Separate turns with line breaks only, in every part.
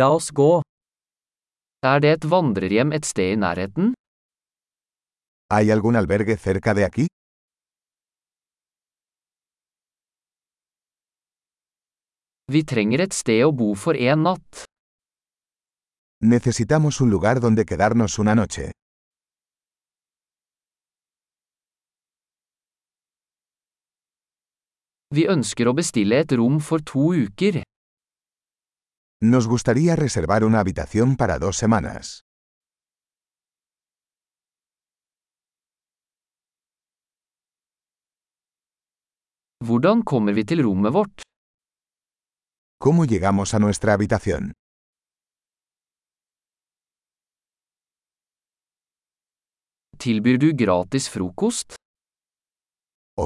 La oss gå. Er det et vandrerhjem et sted i nærheten?
¿Hay algún albergue cerca de aquí?
Vi trenger et sted å bo for en natt.
Necesitamos un lugar donde quedarnos una noche.
Vi ønsker å bestille et rom for to uker.
Nos gustaría reservar una habitación para dos semanas.
Hvordan kommer vi til rommet vårt?
¿Cómo llegamos a nuestra habitación?
Tilbyr du gratis frokost?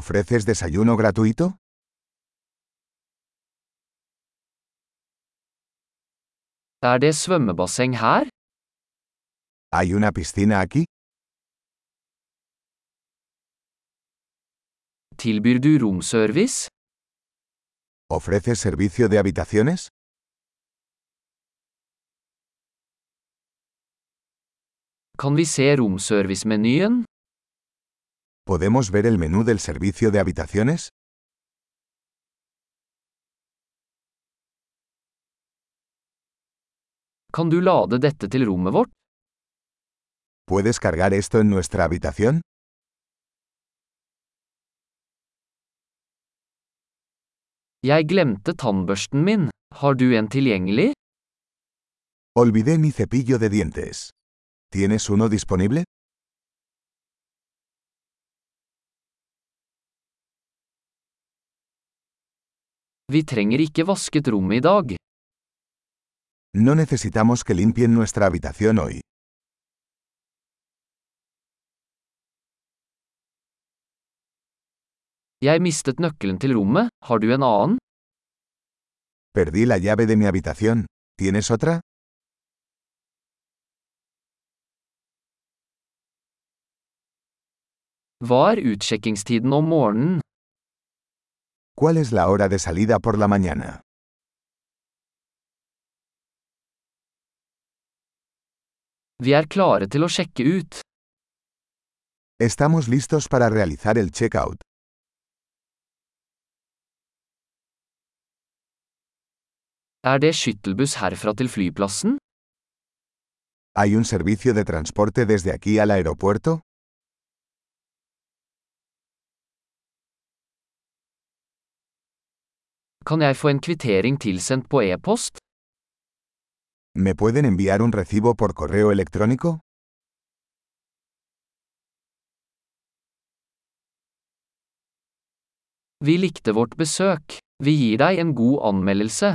¿Ofreces desayuno gratuito?
Er det svømmebasseng her?
¿Hay una piscina aquí?
Tilbyr du romservice?
¿Ofreces servicio de habitaciones?
Kan vi se romservice-menyen?
¿Podemos ver el menú del servicio de habitaciones?
Kan du lade dette til rommet vårt?
¿Puedes cargar esto en nuestra habitación?
Jeg glemte tannbørsten min. Har du en tilgjengelig?
Olvidé mi cepillo de dientes. ¿Tienes uno disponible?
Vi trenger ikke vasket rommet i dag.
No necesitamos que limpien nuestra habitación hoy.
Jeg mistet nøkkelen til rommet, har du en annen?
Perdí la llave de mi habitación. ¿Tienes otra?
Hva er utsjekkingstiden om morgenen?
¿Cuál es la hora de salida por la mañana?
Vi er klare til å sjekke ut.
Estamos listos para realizar el checkout.
Er det skyttelbuss herfra til flyplassen?
¿Hay un servicio de transporte desde aquí al aeropuerto?
Kan jeg få en kvittering tilsendt på e-post?
¿Me pueden enviar un recibo por correo electrónico?
Vi likte vårt besøk. Vi gir deg en god anmeldelse.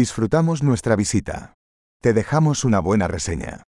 Disfrutamos nuestra visita. Te dejamos una buena reseña.